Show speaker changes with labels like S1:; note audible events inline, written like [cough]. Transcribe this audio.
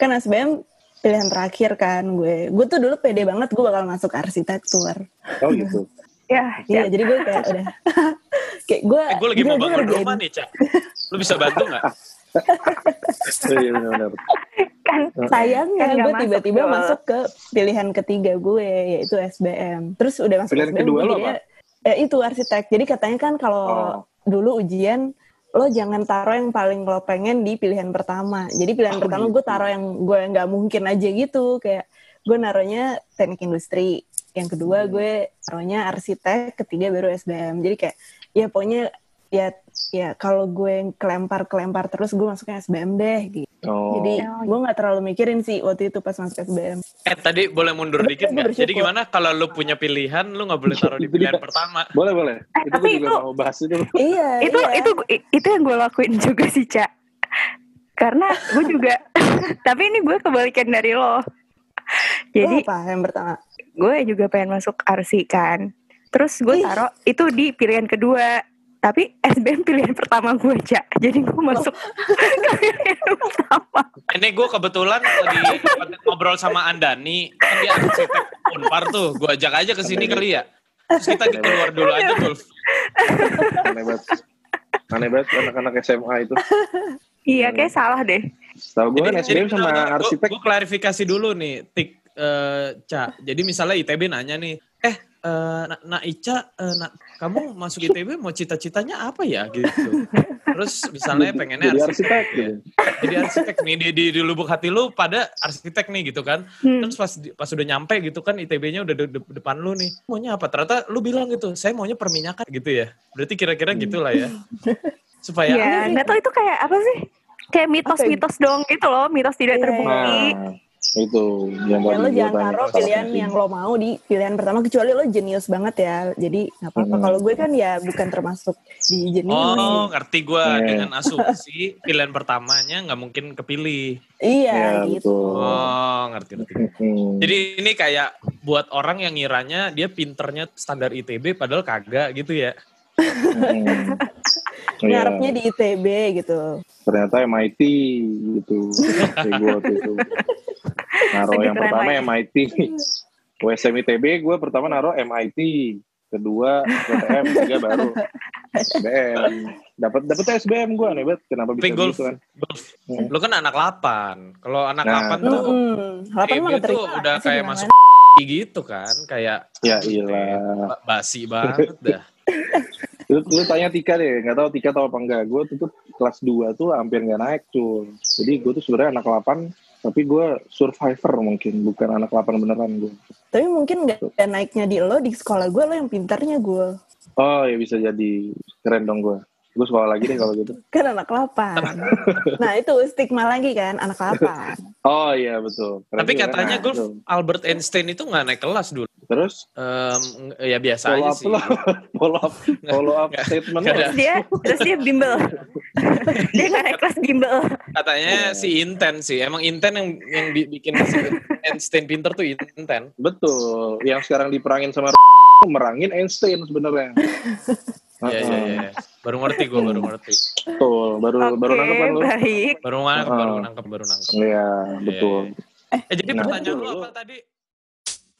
S1: kan SBM pilihan terakhir kan gue gue tuh dulu pede banget gue bakal masuk arsitektur
S2: Oh gitu.
S3: Ya,
S1: iya
S3: ya.
S1: jadi gue kayak udah [laughs] kayak gue
S4: Eh, gue lagi mau
S1: gue
S4: bangun
S1: ngerjain-
S4: rumah nih, Cak. Lu bisa bantu
S2: [laughs]
S4: nggak?
S2: Iya benar-benar.
S3: kan
S1: sayangnya
S3: Kan nggak
S1: gue
S3: masuk
S1: tiba-tiba
S3: tuh.
S1: masuk ke pilihan ketiga gue yaitu SBM terus udah masuk
S2: Pilihan
S1: SBM,
S2: kedua
S1: gue
S2: lo
S1: jadinya- eh, itu arsitek jadi katanya kan kalau
S2: Oh.
S1: dulu ujian lo jangan taruh yang paling lo pengen di pilihan pertama jadi pilihan
S2: Oh,
S1: pertama
S2: gitu.
S1: gue taruh yang gue nggak mungkin aja gitu kayak gue naruhnya teknik industri yang kedua
S2: Hmm.
S1: gue taruhnya arsitek ketiga baru SBM jadi kayak ya pokoknya ya ya kalau gue kelempar kelempar terus gue masuknya SBM deh gitu
S2: Oh.
S1: jadi
S3: Oh.
S1: gue nggak terlalu mikirin sih waktu itu pas masuk SBM.
S4: Eh, tadi boleh mundur
S1: Bener,
S4: dikit
S1: gue
S4: nggak? Jadi
S1: bersyukur.
S4: gimana kalau lu punya pilihan, lu nggak boleh taruh di
S2: Itu
S4: pilihan
S2: dia.
S4: pertama?
S2: boleh boleh.
S3: Eh,
S2: itu
S3: tapi
S2: gue juga
S3: itu-
S2: mau bahas itu.
S1: iya.
S3: itu
S1: iya.
S3: itu i- itu yang gue lakuin [laughs] juga sih cak karena gue juga [laughs] tapi ini gue kebalikan dari lo
S1: Lo
S3: jadi
S1: apa yang pertama?
S3: gue juga pengen masuk arsi kan terus
S1: Ih.
S3: gue taruh itu di pilihan kedua tapi SBM pilihan pertama gue cak jadi
S1: Oh.
S3: gue masuk [laughs] ke pilihan pertama
S4: Ini gue kebetulan tadi ngobrol sama Andani, kan dia arsitek Unpar tuh. Gue ajak aja ke sini kali ya. Terus kita keluar dulu aja, Dulf.
S2: Aneh banget. Aneh banget anak-anak SMA itu.
S3: iya
S1: Hmm.
S3: kayak salah deh
S2: Tahu gue kan SBM sama arsitek.
S4: Gue klarifikasi dulu nih, Tik eh, Ca. Jadi misalnya ITB nanya nih, eh eh, nak na Ica, eh, nak- kamu masuk ITB mau cita-citanya apa ya gitu. Terus misalnya pengennya
S2: Jadi
S4: arsitek.
S2: arsitek. gitu.
S4: Jadi arsitek nih di, di, di lubuk hati lu pada arsitek nih gitu kan.
S3: Hmm.
S4: Terus pas di- pas udah nyampe gitu kan ITB-nya udah de- de- depan lu nih. Maunya apa? Ternyata lu bilang gitu, saya maunya perminyakan gitu ya. Berarti kira-kira gitulah ya. Supaya
S3: Iya, nggak tahu itu kayak apa sih? Kayak mitos-mitos dong gitu loh, mitos tidak
S1: Iya,
S3: terbukti.
S2: Nah, itu
S1: Ya
S2: yang
S1: lo
S2: tadi gue
S1: jangan
S2: tanya. Iya,
S1: taruh pilihan yang lo mau di pilihan pertama kecuali lo jenius banget ya. Jadi nggak apa-apa.
S2: Hmm.
S1: Kalau gue kan ya bukan termasuk di jenius.
S4: Oh, ngerti gue
S2: Iya.
S4: dengan asumsi pilihan pertamanya nggak mungkin kepilih.
S1: Iya
S2: Iya,
S1: gitu.
S2: betul.
S4: Oh, ngerti ngerti.
S2: Hmm. [laughs]
S4: Jadi ini kayak buat orang yang ngiranya dia pinternya standar ITB padahal kagak gitu ya.
S2: Hmm. Iya.
S1: Ngarepnya di ITB gitu.
S2: ternyata MIT gitu Jadi gue waktu itu naruh
S3: Segitu
S2: yang pertama
S3: ramai.
S2: [laughs] MIT USM ITB gue pertama naruh MIT kedua PTM tiga baru SBM dapat dapat SBM gue aneh banget kenapa bisa
S4: Tapi golf,
S2: gitu kan
S4: golf.
S2: Hmm.
S4: Lu kan anak 8. Kalau anak
S2: Nah.
S4: 8 tuh
S1: Mm-mm. Delapan
S4: ITB
S1: mah keterima.
S4: tuh gitu, udah
S1: Pasti
S4: kayak
S1: kenangan.
S4: masuk [laughs] gitu kan, kayak
S2: ya iyalah
S4: ba- basi [laughs] banget dah.
S2: lu, lu tanya Tika deh nggak tahu Tika tahu apa enggak gue tuh, tuh kelas 2 tuh hampir nggak naik tuh jadi gue tuh sebenarnya anak 8 tapi gue survivor mungkin bukan anak 8 beneran gue
S1: Tapi mungkin nggak nggak naiknya di lo di sekolah gue lo yang pintarnya gue.
S2: Oh ya bisa jadi keren dong gue. Gue sekolah lagi deh kalau gitu.
S1: Kan anak
S4: [laughs]
S1: lapan. nah itu stigma lagi kan anak lapan.
S2: Oh iya betul. Keren
S4: Tapi
S2: juga.
S4: katanya
S2: Nah,
S4: golf
S2: betul.
S4: Albert Einstein itu nggak naik kelas dulu.
S2: Terus
S4: Em, ya biasa
S2: follow
S4: aja
S2: up
S4: sih.
S2: lo, [laughs] follow up, follow up
S4: Nggak-
S2: statement
S4: nggak
S2: lo.
S3: Terus dia, terus dia
S2: [laughs]
S3: bimbel. dia nggak naik kelas bimbel.
S4: Katanya
S2: Iya.
S4: si Inten sih. Emang Inten yang yang bi- bikin si Einstein pinter tuh Inten.
S2: Betul. Yang sekarang diperangin sama [laughs] merangin Einstein sebenarnya.
S4: [laughs] Iya iya
S2: Heeh.
S4: iya. Baru ngerti gue, baru ngerti.
S2: Betul. Baru baru nangkep
S3: Oke,
S2: kan lo.
S3: baik.
S4: Baru nangkep, baru
S2: Heeh.
S4: nangkep, baru nangkep.
S2: Iya betul.
S4: Eh jadi
S2: Nah.
S4: pertanyaan lu apa tadi?